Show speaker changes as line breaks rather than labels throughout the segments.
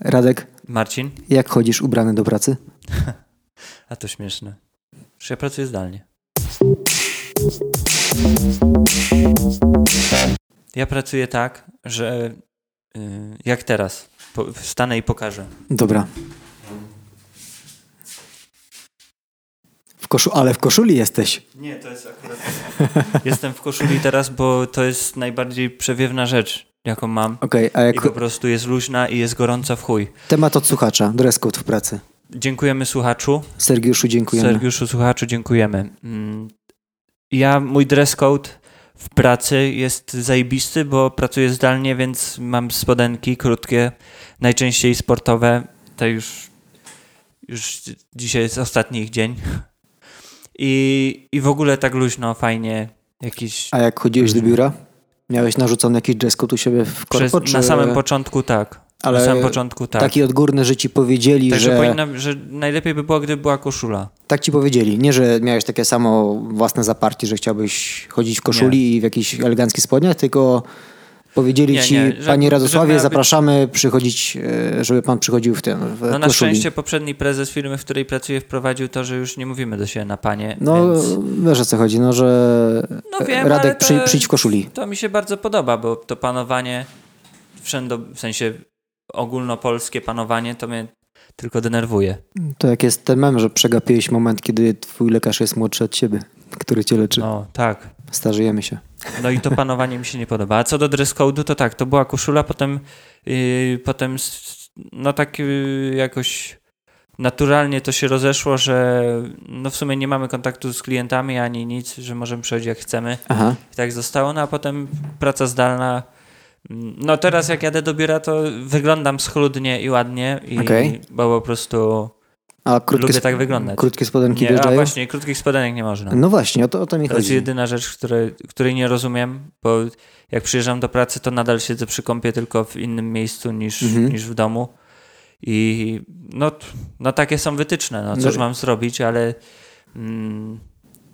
Radek,
Marcin?
jak chodzisz ubrany do pracy?
A to śmieszne. Przecież ja pracuję zdalnie. Ja pracuję tak, że y, jak teraz. Po, wstanę i pokażę.
Dobra. W koszu, ale w koszuli jesteś.
Nie, to jest akurat. Jestem w koszuli teraz, bo to jest najbardziej przewiewna rzecz, jaką mam.
Okej, a
I po
jak
prostu jest luźna i jest gorąca w chuj.
temat od słuchacza, dress code w pracy.
Dziękujemy słuchaczu.
Sergiuszu, dziękujemy.
Sergiuszu, słuchaczu, dziękujemy. Mm, Ja, mój dress code w pracy jest zajebisty, bo pracuję zdalnie, więc mam spodenki krótkie, najczęściej sportowe. To już, już dzisiaj jest ostatni ich dzień. I, I w ogóle tak luźno, fajnie, jakiś...
A jak chodziłeś do biura? Miałeś narzucony jakiś dress code u siebie w korpo?
Przez, na samym początku tak.
Ale
na samym początku tak.
Taki odgórny, że ci powiedzieli,
Także
że...
powinna, że najlepiej by było, gdyby była koszula.
Tak ci powiedzieli. Nie, że miałeś takie samo własne zaparcie, że chciałbyś chodzić w koszuli i w jakichś eleganckich spodniach, tylko powiedzieli
Nie,
ci,
nie, że-
panie
że
Radosławie,
miała być-
zapraszamy przychodzić, e, żeby pan przychodził w tym, w
No na
koszuli.
szczęście poprzedni prezes firmy, w której pracuję, wprowadził to, że już nie mówimy do siebie na panie,
No,
więc
wiesz o co chodzi, no, że e,
No wiem,
Radek
ale to-
przy, przyjdź w koszuli.
to mi się bardzo podoba, bo to panowanie wszędzie, w sensie ogólnopolskie panowanie, to mnie tylko denerwuje.
To jak jest ten mem, że przegapiłeś moment, kiedy twój lekarz jest młodszy od ciebie, który cię leczy.
No tak.
Starzejemy się.
No i to panowanie mi się nie podoba. A co do dress code'u, to tak, to była koszula, potem, yy, potem s- no tak yy, jakoś naturalnie to się rozeszło, że no w sumie nie mamy kontaktu z klientami ani nic, że możemy przychodzić jak chcemy.
Aha.
I tak zostało, no a potem praca zdalna. Mm, No teraz jak jadę do biura, to wyglądam schludnie i ładnie, i,
Okej.
bo po prostu
A krótkie,
lubię
sp-
tak wyglądać.
krótkie spodenki
nie, a
wjeżdżają?
właśnie, krótkich spodenek nie można.
No właśnie, o to, o to mi
To jest
chodzi.
jedyna rzecz, której, której nie rozumiem, bo jak przyjeżdżam do pracy, to nadal siedzę przy kąpie, tylko w innym miejscu niż,
Mhm.
niż w domu. I no, t- no takie są wytyczne, no cóż
No-
mam zrobić, ale mm,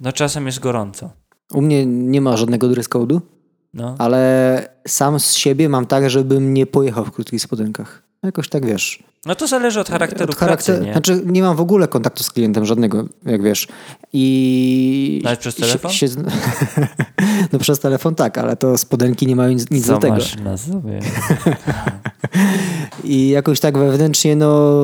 no czasem jest gorąco.
U mnie nie ma żadnego dress code'u.
No.
ale sam z siebie mam tak, żebym nie pojechał w krótkich spodenkach. Jakoś tak wiesz.
no to zależy od charakteru pracy, nie?
Znaczy, nie mam w ogóle kontaktu z klientem żadnego, jak wiesz. I.
Nawet przez
i
telefon?
no przez telefon tak, ale to spodenki nie mają nic, nic
Co
do tego.
masz na sobie?
I jakoś tak wewnętrznie, no.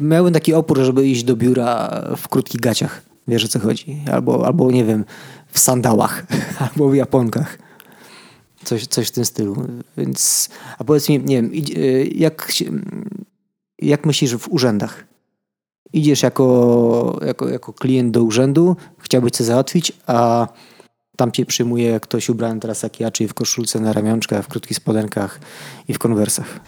Miałem taki opór, żeby iść do biura w krótkich gaciach. Wiesz o co chodzi? Albo, albo nie wiem, w sandałach, albo w japonkach. Coś, coś w tym stylu. Więc. A powiedz mi, nie wiem, idź- y, jak, się- jak myślisz w urzędach? Idziesz jako, jako, jako klient do urzędu, chciałbyś coś załatwić, a tam cię przyjmuje ktoś ubrany teraz jak ja, czyli w koszulce na ramionczkach, w krótkich spodenkach i w konwersach.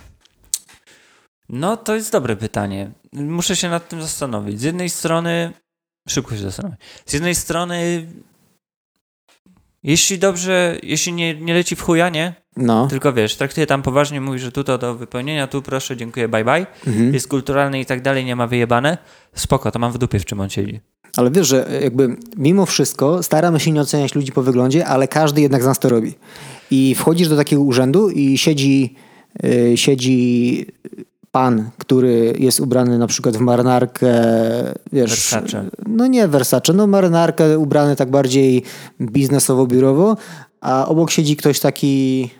No, to jest dobre pytanie. Muszę się nad tym zastanowić. Z jednej strony, szybko się zastanowię. Z jednej strony, jeśli dobrze, jeśli nie, nie leci w chuja, nie?
No.
Tylko wiesz, traktuję tam poważnie, mówi, że tu to do wypełnienia, tu proszę, dziękuję, bye bye.
Mhm.
Jest kulturalny i tak dalej, nie ma wyjebane. Spoko, to mam w dupie, w czym on siedzi.
Ale wiesz, że jakby mimo wszystko staramy się nie oceniać ludzi po wyglądzie, ale każdy jednak z nas to robi. I wchodzisz do takiego urzędu i siedzi, yy, siedzi pan, który jest ubrany na przykład w marynarkę, wiesz...
Versace.
No nie Versace, no marynarkę ubrany tak bardziej biznesowo-biurowo, a obok siedzi ktoś taki,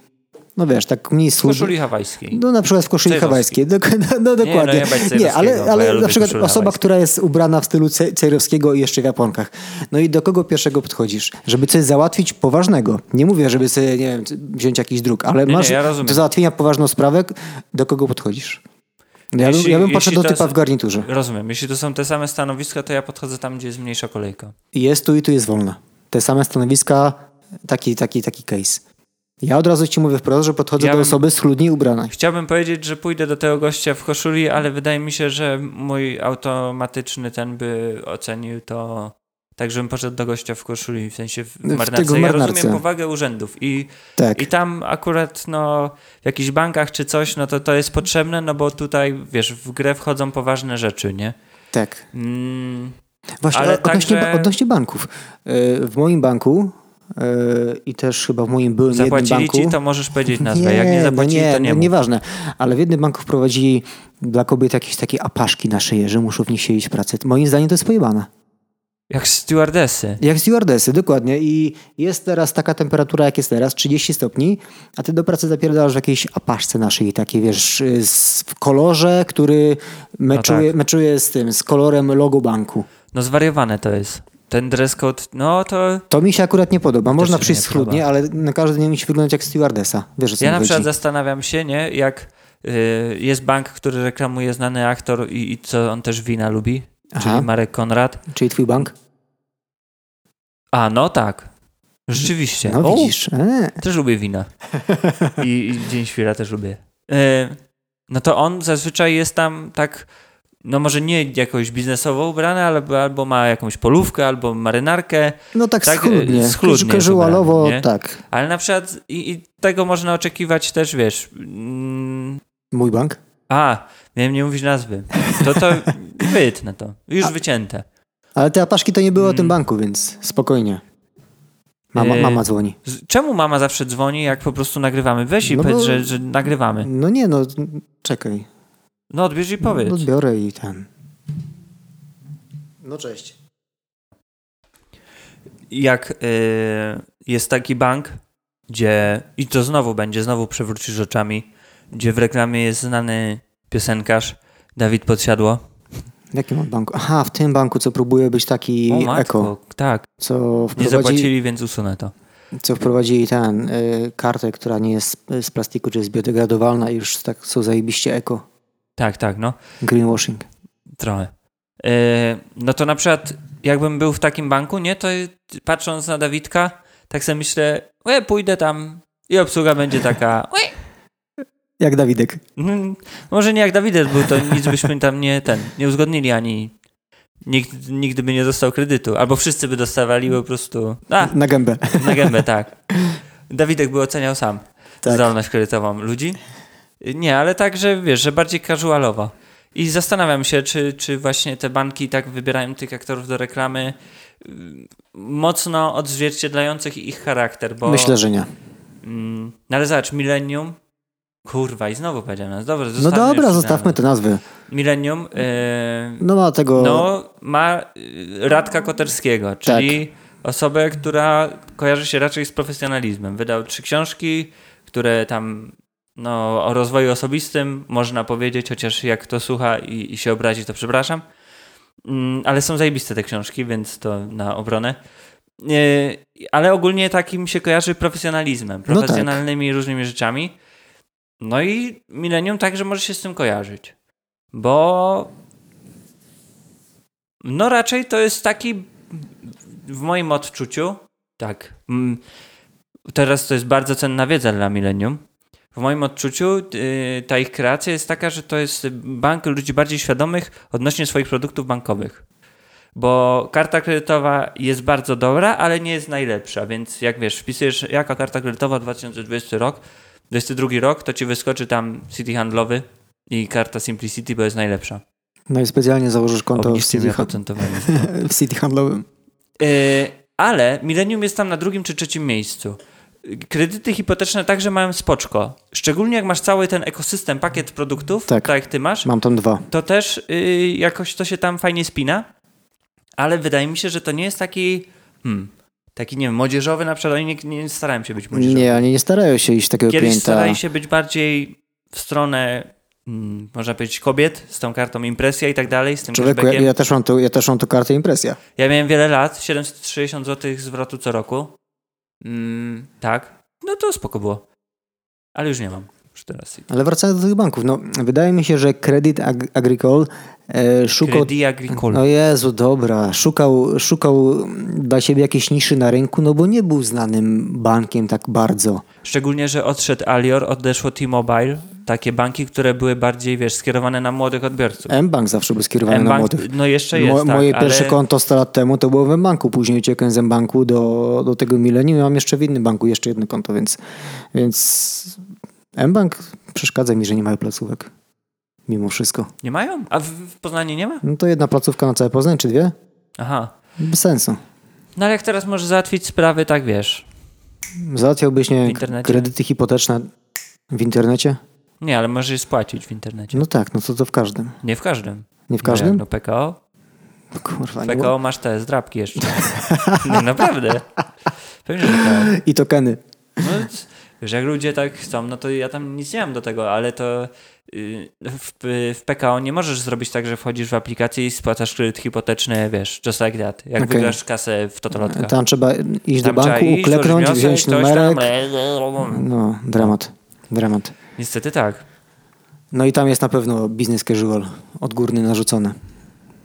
no wiesz, tak mniej
W
służby.
koszuli hawajskiej.
No na przykład w koszuli
Cejrowski.
hawajskiej. Dok- No, no
Nie, no
dokładnie.
jebać
Nie,
Cejrowskiego,
ale,
bo
ale
ja
na
lubię
przykład
koszulę
osoba,
hawajską.
która jest ubrana w stylu ce- cejrowskiego i jeszcze w japonkach. No i do kogo pierwszego podchodzisz? Żeby coś załatwić poważnego. Nie mówię, żeby sobie, nie wiem, c- wziąć jakiś druk, ale
Nie,
masz
nie, ja rozumiem.
do załatwienia poważną sprawę, k- do kogo podchodzisz? No Ja, bym-
Jeśli-
ja bym
jeśli
poszedł do
to
typa
jest-
w garniturze.
Rozumiem, jeśli to są te same stanowiska, to ja podchodzę tam, gdzie jest mniejsza kolejka.
Jest tu i tu jest wolna. Te same stanowiska, taki, taki, taki case. Ja od razu ci mówię wprost, że podchodzę
Ja
do
bym-
osoby schludnie ubranej.
Chciałbym powiedzieć, że pójdę do tego gościa w koszuli, ale wydaje mi się, że mój automatyczny ten by ocenił to tak, żebym poszedł do gościa w koszuli, w sensie w
tego
marynarce. ja
marynarce.
rozumiem powagę urzędów i,
Tak.
i tam akurat no, w jakichś bankach czy coś, no to to jest potrzebne, no bo tutaj, wiesz, w grę wchodzą poważne rzeczy, nie?
Tak.
Mm,
Właśnie,
Ale
ale odnośnie,
także-
odnośnie banków. Yy, W moim banku Yy, I też chyba w moim byłym jednym
Zapłacili
banku...
ci, to możesz powiedzieć nazwę. Jak nie zapłacili,
no nie,
to nie
no
mów.
Nieważne, ale w jednym banku wprowadzili dla kobiet jakieś takie apaszki na szyję, że muszą w nich siedzieć w pracy. Moim zdaniem to jest pojebane.
Jak stewardesy.
Jak stewardessy, dokładnie. I jest teraz taka temperatura, jak jest teraz, 30 stopni, a ty do pracy zapierdalasz w jakiejś apaszce naszej, takiej wiesz, z, w kolorze, który meczuje,
tak.
meczuje z tym, z kolorem logo banku.
No zwariowane to jest. Ten dress code, no to...
To mi się akurat nie podoba. Można
się mi
przyjść
nie
schludnie, ale na każdy dzień musi wyglądać jak stewardessa. Wiesz, o co
Ja
mi
na
chodzi.
przykład zastanawiam się, nie, jak y, jest bank, który reklamuje znany aktor i, i co on też wina lubi,
Aha.
czyli Marek Konrad.
Czyli twój bank?
A, no tak. Rzeczywiście.
No
O,
widzisz. E.
Też lubię wina. I, i Dzień Świra też lubię. E, no to on zazwyczaj jest tam tak, no może nie jakoś biznesowo ubrany, ale albo ma jakąś polówkę, albo marynarkę,
No tak,
Tak,
schludnie.
e, schludnie
Casualowo,
wybrany, nie?
tak.
ale na przykład i, i tego można oczekiwać też, wiesz... Mm,
Mój bank?
a, miałem nie mówić nazwy. To to wytnę to. Już wycięte.
Ale te apaszki to nie były o tym
Mm.
banku, więc spokojnie. Mama,
E,
mama dzwoni.
Z- Czemu mama zawsze dzwoni, jak po prostu nagrywamy? Weź i
No bo-
powiedz, że, że nagrywamy.
No nie, no czekaj.
No odbierz i powiedz.
Odbiorę i ten. No cześć.
jak y, jest taki bank, gdzie i to znowu będzie, znowu przewrócisz oczami, gdzie w reklamie jest znany piosenkarz Dawid Podsiadło.
W jakim on banku? Aha, w tym banku, co próbuje być taki
O, matko,
eko.
Tak,
Co
nie
wprowadzi,
zapłacili, więc usunę to.
co wprowadzili ten, y, kartę, która nie jest z plastiku, czy jest biodegradowalna i już tak są zajebiście eko.
Tak, tak, no,
Greenwashing.
trochę. Y, no to na przykład, jakbym był w takim banku, nie, to y, patrząc na Dawidka, tak sobie myślę, e, pójdę tam i obsługa będzie taka, "Ue,
Jak Dawidek.
Mm, Może nie jak Dawidek był, to nic byśmy tam nie ten, nie uzgodnili ani nikt nigdy by nie dostał kredytu. Albo wszyscy by dostawali po prostu a,
Na gębę.
na gębę, tak. Dawidek by oceniał sam
Tak.
zdolność kredytową ludzi. Nie, ale tak, że wiesz, że bardziej casualowo. I zastanawiam się, czy, czy właśnie te banki tak wybierają tych aktorów do reklamy mm, mocno odzwierciedlających ich charakter, bo...
Myślę, że nie.
Mm, no ale zobacz, Millennium. Kurwa, i znowu powiedziałem nas. Dobra,
No
zostawmy
dobra,
już
zostawmy
to.
te nazwy.
Millennium yy,
No ma tego...
no, ma yy, Radka Koterskiego,
Tak.
czyli osobę, która kojarzy się raczej z profesjonalizmem. Wydał trzy książki, które tam no, o rozwoju osobistym można powiedzieć, chociaż jak kto słucha i, i się obrazi, to przepraszam. Mm, ale są zajebiste te książki, więc to na obronę. Yy, ale ogólnie takim się kojarzy profesjonalizmem,
tak.
profesjonalnymi różnymi rzeczami. No i Millennium także może się z tym kojarzyć, bo no raczej to jest taki w moim odczuciu, tak. mm, Teraz to jest bardzo cenna wiedza dla Millennium. W moim odczuciu yy, ta ich kreacja jest taka, że to jest bank ludzi bardziej świadomych odnośnie swoich produktów bankowych. Bo karta kredytowa jest bardzo dobra, ale nie jest najlepsza, więc jak wiesz, wpisujesz jaka karta kredytowa 2020 rok, 22 rok, to ci wyskoczy tam City Handlowy i karta Simplicity, bo jest najlepsza.
No i specjalnie założysz konto w
Obniżcie mi
City, Han-
oprocentowanie.
w City Handlowym.
Yy, ale Millennium jest tam na drugim czy trzecim miejscu. Yy, Kredyty hipoteczne także mają spoczko. Szczególnie jak masz cały ten ekosystem, pakiet produktów,
Tak.
tak, jak ty masz,
Mam tam dwa.
to też yy, jakoś to się tam fajnie spina. Ale wydaje mi się, że to nie jest taki, hmm, taki nie wiem, młodzieżowy na przykład. Oni nie, nie starałem się być młodzieżowy.
Nie, oni nie starają się iść takiego
Kiedyś
klienta.
starali się być bardziej w stronę, mm, można powiedzieć, kobiet z tą kartą impresja i tak dalej, z tym
Człowieku, ja,
cashbackiem.
ja, też mam tu, ja też mam tu kartę impresja.
Ja miałem wiele lat, 760 zł zwrotu co roku. Mm, tak. No to spoko było. Ale już nie mam. Już teraz.
Ale wracając do tych banków, no wydaje mi się, że Credit Ag- Agricole e, szukał...
Credit Agricole.
No Jezu, dobra, szukał, szukał dla siebie jakiejś niszy na rynku, no bo nie był znanym bankiem tak bardzo.
Szczególnie, że odszedł Alior, odeszło T-Mobile. Takie banki, które były bardziej, wiesz, skierowane na młodych odbiorców.
M-Bank zawsze był skierowany na
M-Bank,
młodych.
no jeszcze jest,
Mo-
tak,
moje
ale
pierwsze konto 100 lat temu to było w M-Banku, później uciekłem z M-Banku do, do tego milenium i mam jeszcze w innym banku jeszcze jedno konto, więc, więc M-Bank przeszkadza mi, że nie mają placówek. Mimo wszystko.
Nie mają? A w, w Poznaniu nie ma?
No to jedna placówka na całe Poznań, czy dwie?
Aha.
Bez sensu.
No ale jak teraz możesz załatwić sprawy, tak wiesz.
Załatwiałbyś, nie
W
wiem,
internecie?
kredyty hipoteczne w internecie?
Nie, ale możesz je spłacić w internecie.
No tak, no to to w każdym.
Nie w każdym.
Nie w
No, jak
każdym?
no PKO?
No, kurwa, nie było.
PKO masz te zdrabki jeszcze. No naprawdę. Pewnie, że tak.
I tokeny.
No, c- wiesz, jak ludzie tak chcą, no to ja tam nic nie mam do tego, ale to y, w, w PKO nie możesz zrobić tak, że wchodzisz w aplikację i spłacasz kredyt hipoteczny, wiesz, just like that. Jak
Okej.
wygrasz kasę w Totolotka.
Tam trzeba iść do
Tam trzeba
banku,
iść, złożyć
kleknąć,
wniosek,
wziąć
coś tam, e,
numerek.
le-
No, dramat. Dramat.
Niestety tak.
No i tam jest na pewno business casual odgórny narzucony.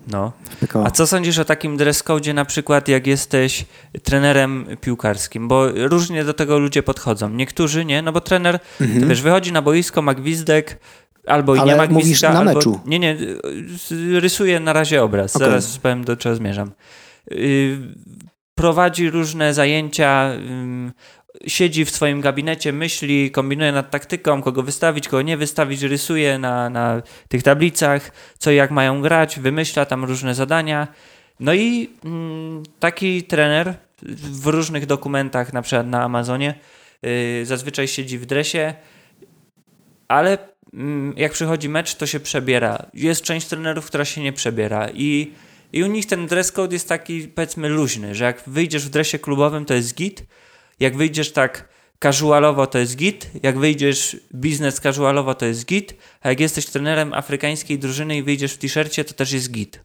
No.
w PKO.
A co sądzisz o takim dress code na przykład, jak jesteś trenerem piłkarskim? Bo różnie do tego ludzie podchodzą. Niektórzy nie, no bo trener,
mhm.
to wiesz, wychodzi na boisko, ma gwizdek, albo i
Ale
nie ma
mówisz
gwizdka,
na
albo...
meczu.
Nie, nie, y, rysuję na razie obraz,
Okej.
zaraz powiem do czego zmierzam. Y, prowadzi różne zajęcia, ym, siedzi w swoim gabinecie, myśli, kombinuje nad taktyką, kogo wystawić, kogo nie wystawić, rysuje na, na tych tablicach, co i jak mają grać, wymyśla tam różne zadania. No i mm, taki trener w różnych dokumentach, na przykład na Amazonie, yy, zazwyczaj siedzi w dresie, ale mm, jak przychodzi mecz, to się przebiera. Jest część trenerów, która się nie przebiera i, i u nich ten dress code jest taki, powiedzmy, luźny, że jak wyjdziesz w dresie klubowym, to jest git, jak wyjdziesz tak casualowo, to jest git, jak wyjdziesz biznes casualowo, to jest git, a jak jesteś trenerem afrykańskiej drużyny i wyjdziesz w t-shircie, to też jest git.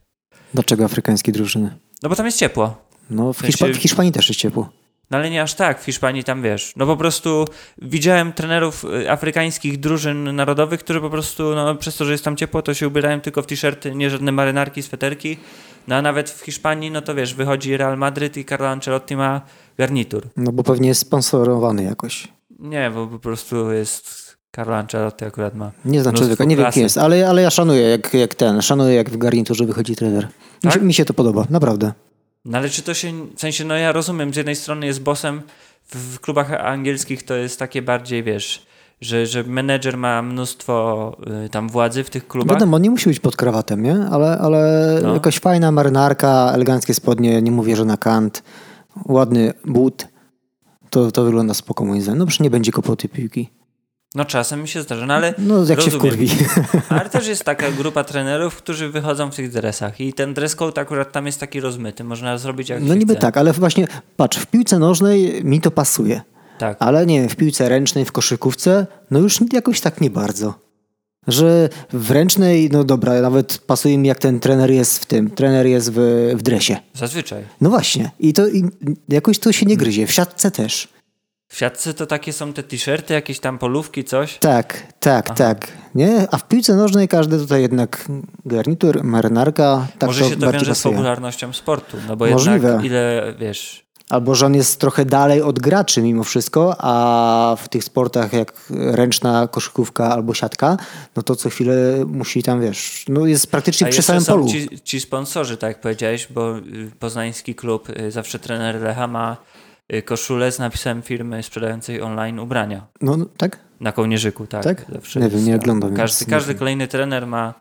Dlaczego afrykańskie drużyny?
No bo tam jest ciepło.
No, w,
sensie-
Hiszpa- w Hiszpanii też jest ciepło.
No ale nie aż tak, w Hiszpanii tam wiesz. No po prostu widziałem trenerów y, afrykańskich drużyn narodowych, którzy po prostu, no przez to, że jest tam ciepło, to się ubierają tylko w t-shirty, nie żadne marynarki, sweterki. No a nawet w Hiszpanii, no to wiesz, wychodzi Real Madryt i Carlo Ancelotti ma garnitur.
No bo pewnie jest sponsorowany jakoś.
Nie, bo po prostu jest Carlo Ancelotti akurat ma.
Nie znam
No,
człowieka, nie wiem
klasy.
kim jest, ale, ale ja szanuję jak, jak ten, szanuję jak w garniturze wychodzi trener. Mi,
Tak?
się, mi się to podoba, naprawdę.
No ale czy to się, w sensie, no ja rozumiem, z jednej strony jest bossem, w, w klubach angielskich to jest takie bardziej, wiesz, że, że menedżer ma mnóstwo y, tam władzy w tych klubach.
No Wiadomo, nie musi być pod krawatem, nie? Ale, ale
tak. No.
jakaś fajna marynarka, eleganckie spodnie, nie mówię, że na kant, ładny but, to, to wygląda spoko moim zdaniem. No przecież nie będzie kopoty piłki.
No czasem mi się zdarza, no ale,
No jak się
Rozumiem.
wkurwi.
ale też jest taka grupa trenerów, którzy wychodzą w tych dresach i ten dress code akurat tam jest taki rozmyty, można zrobić jak
No
się
niby
chce.
tak, ale właśnie patrz, w piłce nożnej mi to pasuje.
Tak,
Ale nie wiem, w piłce ręcznej, w koszykówce, no już jakoś tak nie bardzo. Że w ręcznej, no dobra, nawet pasuje mi jak ten trener jest w tym, trener jest w, w dresie.
zazwyczaj.
No właśnie, i to i jakoś to się nie gryzie, w siatce też.
W siatce to takie są te t-shirty, jakieś tam polówki, coś.
Tak, tak, tak. Nie? A w piłce nożnej każdy tutaj jednak garnitur, marynarka, tak
Może
to
się to
bardziej
wiąże z
pasuje.
popularnością sportu, no bo jednak
Możliwe.
ile, wiesz,
Albo że on jest trochę dalej od graczy mimo wszystko, a w tych sportach jak ręczna koszykówka albo siatka, no to co chwilę musi tam, wiesz, no jest praktycznie
A
przy
jeszcze
samym
są
polu.
Ci, ci sponsorzy, tak jak powiedziałeś, bo y, poznański klub, y, zawsze trener Lecha ma y, koszulę z napisem firmy sprzedającej online ubrania.
No, no tak?
Na kołnierzyku, tak.
Tak?
Zawsze
Nie
jest
wiem, nie
tam.
oglądam, więc
Każdy,
nie
każdy
wiem.
kolejny trener ma,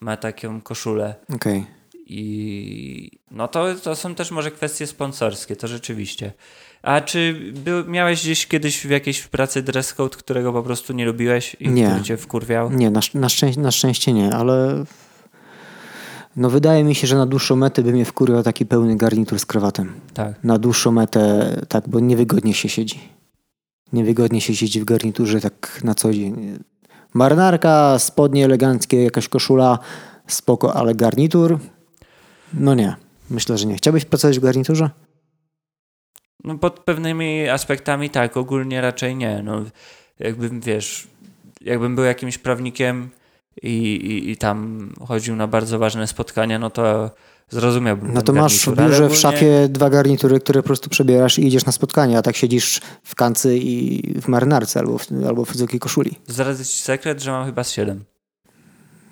ma taką koszulę.
Okej.
I no to, to są też może kwestie sponsorskie, to rzeczywiście. A czy był, miałeś gdzieś kiedyś w jakiejś pracy dress code, którego po prostu nie lubiłeś i
Nie.
który cię wkurwiał?
Nie, na, szcz- na, szczęście, na szczęście nie, ale no wydaje mi się, że na dłuższą metę by mnie wkurwiał taki pełny garnitur z krawatem.
Tak.
Na dłuższą metę tak, bo niewygodnie się siedzi. Niewygodnie się siedzi w garniturze tak na co dzień. Marynarka, spodnie eleganckie, jakaś koszula, spoko, ale garnitur? No nie, myślę, że nie. Chciałbyś pracować w garniturze?
No pod pewnymi aspektami tak, ogólnie raczej nie. No, jakbym, wiesz, jakbym był jakimś prawnikiem i, i, i tam chodził na bardzo ważne spotkania, no to zrozumiałbym.
No
ten
to masz w
garnitur, ale
biurze, w
ogólnie-
szafie dwa garnitury, które po prostu przebierasz i idziesz na spotkanie, a tak siedzisz w kancy i w marynarce albo w, albo w wysokiej koszuli.
Zdradzę ci sekret, że mam chyba z 7.
No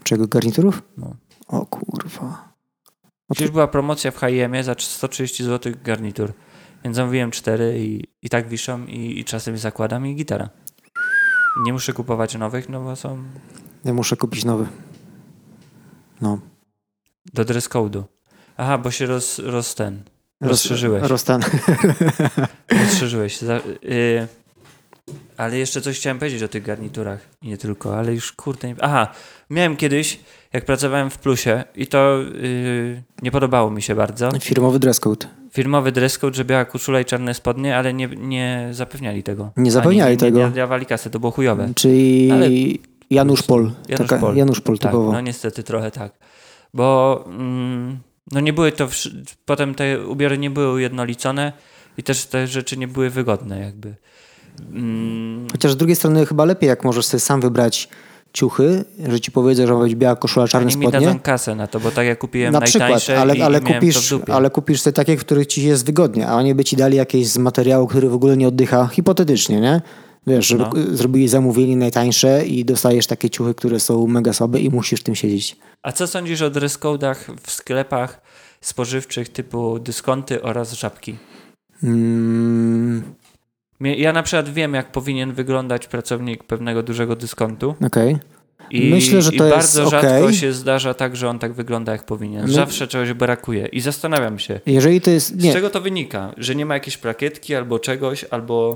Czego garniturów?
No.
O kurwa. O,
Przecież była promocja w H&M za 130 zł garnitur, więc zamówiłem 4 i, i tak wiszą i, i czasem zakładam i gitara. Nie muszę kupować nowych, no bo są
Ja muszę kupić nowy. No.
do dress code'u. Aha, bo się roz, roz ten, Rozszerzyłeś.
Rostan.
Rozszerzyłeś. Za, y, ale jeszcze coś chciałem powiedzieć o tych garniturach. I nie tylko, ale już kurde. Nie... Aha, miałem kiedyś, jak pracowałem w Plusie i to y, nie podobało mi się bardzo.
Firmowy dress code.
Firmowy dress code, że biała koszula i czarne spodnie, ale nie, nie zapewniali tego.
Nie zapewniali
Ani-
tego.
Nie, nie dawali kasy, to było chujowe.
Czyli
Ale-
Janusz Pol.
Janusz
taka,
Pol.
Janusz Pol
Tak,
typowo.
no niestety trochę tak. Bo mm, no nie były to, wszy- potem te ubiory nie były ujednolicone i też te rzeczy nie były wygodne jakby. Mm,
Chociaż z drugiej strony chyba lepiej, jak możesz sobie sam wybrać ciuchy, że ci powiedzą, że ma być biała koszula, czarne
oni mi dadzą
spodnie.
kasę na to, bo tak jak kupiłem
Na przykład,
najtańsze i,
ale, ale,
i miałem
kupisz,
to w dupie.
ale kupisz te takie, w których ci jest wygodnie, a oni by ci dali jakieś z materiału, który w ogóle nie oddycha, hipotetycznie, nie? Wiesz, żeby
No.
k- zrobili zamówienie najtańsze i dostajesz takie ciuchy, które są mega słabe i musisz w tym siedzieć.
A co sądzisz o dress code'ach w sklepach spożywczych typu dyskonty oraz żabki?
Mm,
Mie- Ja na przykład wiem, jak powinien wyglądać pracownik pewnego dużego dyskontu.
Okej.
I,
Myślę, że
i
to jest
bardzo rzadko
okej.
się zdarza tak, że on tak wygląda, jak powinien.
My-
Zawsze czegoś brakuje. I zastanawiam się,
Jeżeli to jest...
z
Nie,
czego to wynika? Że nie ma jakiejś plakietki albo czegoś, albo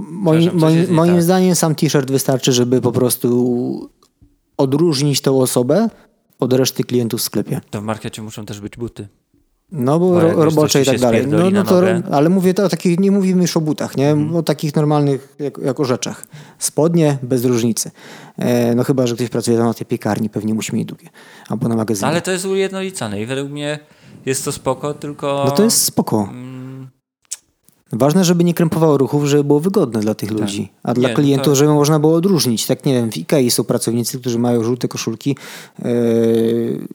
Moim,
Przepraszam, coś
moim,
jest nie
moim
tak.
zdaniem sam t-shirt wystarczy, żeby po prostu odróżnić tą osobę od reszty klientów w sklepie.
to w markecie muszą też być buty.
No bo,
Bo
ro,
jak wiesz,
robocze
coś
i
ci
tak
się
dalej. No,
spierdoli
no
na
to,
nogę. Mhm.
ale mówię to o takich, nie mówimy już o butach, nie? O takich normalnych, jak, jako rzeczach. Spodnie bez różnicy. E, no chyba, że ktoś pracuje tam na tej piekarni, pewnie musi mieć długie. Albo na magazynie.
Ale to jest ujednolicone i według mnie jest to spoko, tylko...
No to jest spoko.
mm,
Ważne, żeby nie krępowało ruchów, żeby było wygodne dla tych ludzi, a dla
Nie, no
klientów,
tak.
żeby można było odróżnić. Tak nie wiem, w IKEA są pracownicy, którzy mają żółte koszulki, e,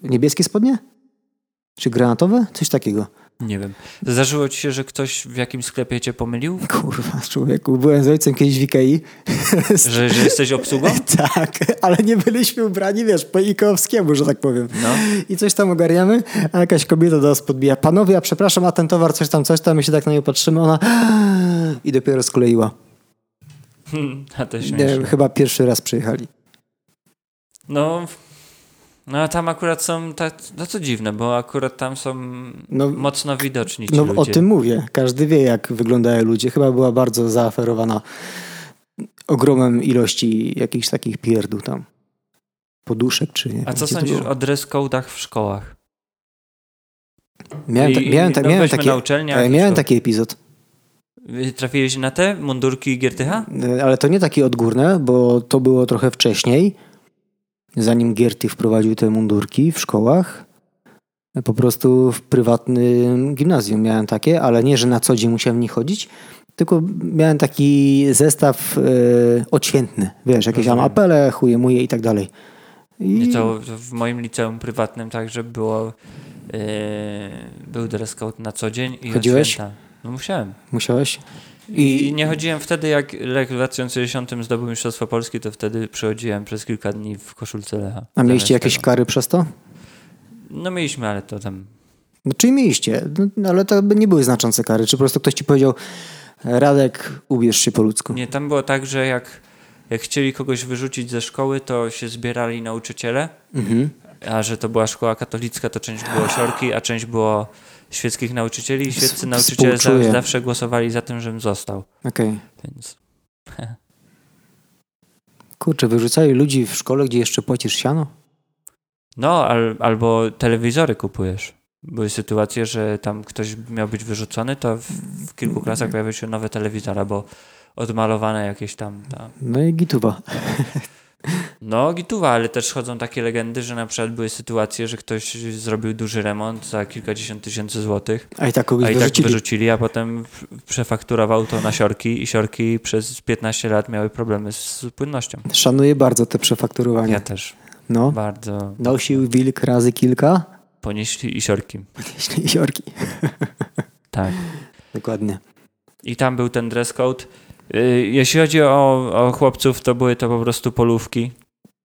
niebieskie spodnie? Czy granatowe? Coś takiego.
Nie wiem. Zdarzyło ci się, że ktoś w jakimś sklepie cię pomylił?
Kurwa, człowieku, byłem z ojcem kiedyś w IKEA.
Że, że jesteś obsługą?
tak, ale nie byliśmy ubrani, wiesz, po ikowskiemu, że tak powiem.
No.
I coś tam ogarniamy, a jakaś kobieta do nas podbija. Panowie, a przepraszam, a ten towar, coś tam, coś tam, my się tak na nią patrzymy, ona i dopiero skleiła.
A to
Nie,
śmieszne.
Chyba pierwszy raz przyjechali.
No, no a tam akurat są, tak, no co dziwne, bo akurat tam są
No,
mocno widoczni ci
No
ludzie.
o tym mówię. Każdy wie, jak wyglądają ludzie. Chyba była bardzo zaaferowana ogromem ilości jakichś takich pierdół tam. Poduszek czy nie.
A
wiem,
co
gdzie to
sądzisz
było.
o dress code'ach w szkołach?
Miałem, ta,
I-
miałem, ta,
no
miałem,
weźmy
takie,
na uczelniach.
e,
i
miałem tak- taki
szkoły.
epizod.
Trafiłeś na te mundurki Giertycha?
E, Ale to nie takie odgórne, bo to było trochę wcześniej. Zanim Gierty wprowadził te mundurki w szkołach. E, Po prostu w prywatnym gimnazjum miałem takie, ale nie, że na co dzień musiałem w nich chodzić, tylko miałem taki zestaw e, odświętny, wiesz, jakieś tam
Rozumiem.
apele, chuje moje i tak dalej. I
Nie, to
Mm.
w moim liceum prywatnym także było, yy, był dress code na co dzień i
Chodziłeś?
od święta. No musiałem.
musiałeś?
I, nie chodziłem wtedy, jak rok w 2010 zdobył Mistrzostwo Polski, to wtedy przychodziłem przez kilka dni w koszulce
A
Lecha. Zamiast
mieliście jakieś
tego.
kary przez to?
No mieliśmy, ale to tam...
No, czyli mieliście, no, ale to by nie były znaczące kary. Czy po prostu ktoś ci powiedział, Radek, ubierz się po ludzku?
Nie, tam było tak, że jak, jak chcieli kogoś wyrzucić ze szkoły, to się zbierali nauczyciele,
Mhm.
a że to była szkoła katolicka, to część było siorki, a część było świeckich nauczycieli i świeccy
Współczuję.
nauczyciele za, zawsze głosowali za tym, żebym został.
Okej.
Więc
Kurczę, wyrzucali ludzi w szkole, gdzie jeszcze płacisz siano?
No, al, albo telewizory kupujesz. Były sytuacje, że tam ktoś miał być wyrzucony, to w, w kilku klasach pojawił się nowy telewizor, albo odmalowane jakieś tam, tam.
No i gituwa.
No, gituwa, ale też chodzą takie legendy, że na przykład były sytuacje, że ktoś zrobił duży remont za kilkadziesiąt tysięcy złotych,
A i tak kogoś
a i tak
wyrzucili.
wyrzucili, a potem w- przefakturował to na siorki i siorki przez 15 lat miały problemy z płynnością.
Szanuję bardzo te przefakturowania.
Ja też
No.
bardzo
Nosił wilk razy kilka,
ponieśli i siorki.
jeśli jorki.
Tak.
Dokładnie.
I tam był ten dress code. Y, Jeśli chodzi o, o chłopców, to były to po prostu polówki.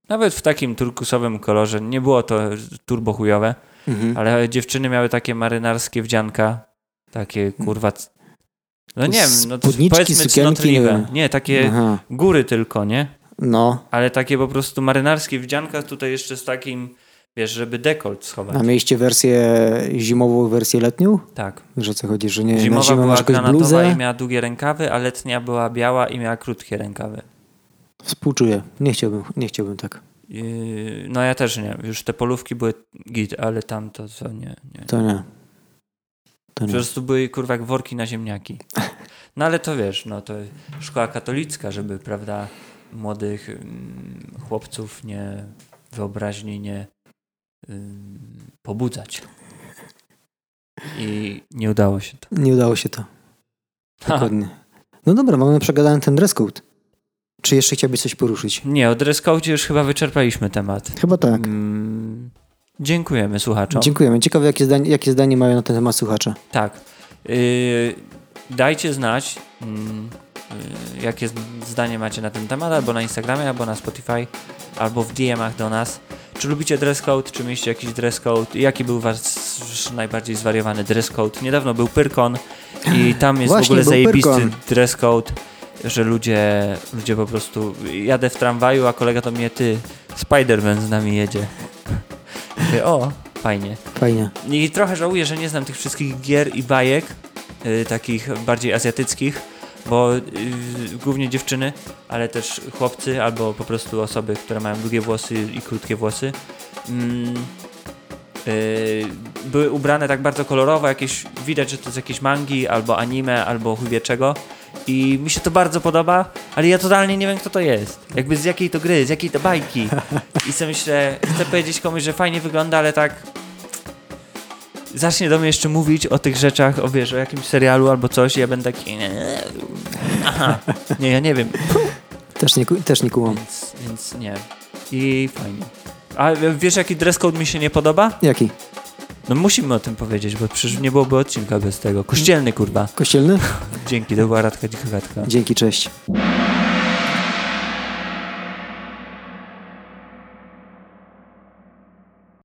Nawet w takim turkusowym kolorze. Nie było to turbo chujowe,
Mhm.
ale dziewczyny miały takie marynarskie wdzianka. Takie kurwa. c- No nie wiem, no to
Spódniczki,
powiedzmy
sukienki, nie
cnotliwe.
wiem. No.
Nie, takie
Aha.
góry tylko, nie?
No.
Ale takie po prostu marynarskie wdzianka tutaj jeszcze z takim Wiesz, żeby dekolt schować.
A mieliście wersję zimową, wersję letnią?
Tak.
Wiesz o co chodzi, że nie E, na
Zimowa
zimę
była
masz jakąś
granatowa i
bluzę?
miała długie rękawy, a letnia była biała i miała krótkie rękawy.
Współczuję. Nie chciałbym, nie chciałbym tak.
Yy, no ja też nie. Już te polówki były git, ale tam to co nie. nie.
To nie. To
Po
No nie.
prostu były kurwa jak worki na ziemniaki. No ale to wiesz, no to szkoła katolicka, żeby prawda młodych mm, chłopców nie wyobraźni nie ym, pobudzać. I nie udało się to.
Nie udało się to.
Ha,
Dokładnie. No dobra, mamy przegadany ten dress code. Czy jeszcze chciałbyś coś poruszyć?
nie, o dress code już chyba wyczerpaliśmy temat.
Chyba tak.
Mm, dziękujemy słuchaczom.
Dziękujemy. Ciekawe, jakie zdanie, jakie zdanie mają na ten temat słuchacze.
tak. Yy, dajcie znać, mm, yy, jakie z- zdanie macie na ten temat, albo na Instagramie, albo na Spotify, albo w DM-ach do nas. Czy lubicie dress code, czy mieliście jakiś dress code? Jaki był wasz najbardziej zwariowany dress code? Niedawno był Pyrkon i tam jest
Właśnie,
w ogóle
był
zajebisty
Pyrkon.
dress code, że ludzie, ludzie po prostu... Jadę w tramwaju, a kolega do mnie, ty, Spider-Man z nami jedzie. Mówię, o, fajnie.
Fajnie.
I trochę żałuję, że nie znam tych wszystkich gier i bajek, y, takich bardziej azjatyckich, bo y, głównie dziewczyny, ale też chłopcy albo po prostu osoby, które mają długie włosy i krótkie włosy. Mm, y, były ubrane tak bardzo kolorowo, jakieś, widać, że to jest jakieś mangi albo anime, albo chuj wie czego. I mi się to bardzo podoba, ale ja totalnie nie wiem, kto to jest. Jakby z jakiej to gry, z jakiej to bajki. I sobie myślę, chcę powiedzieć komuś, że fajnie wygląda, ale tak zacznie do mnie jeszcze mówić o tych rzeczach, o wiesz, o jakimś serialu albo coś i ja będę taki... Aha, nie, ja nie wiem,
Też nie, ku- też nie kumam.
więc, więc nie. I fajnie. A wiesz, jaki dress code mi się nie podoba?
Jaki?
No musimy o tym powiedzieć, bo przecież nie byłoby odcinka bez tego. Kościelny, kurwa.
Kościelny?
Dzięki, to była Radka Dzichogatka.
Dzięki, cześć.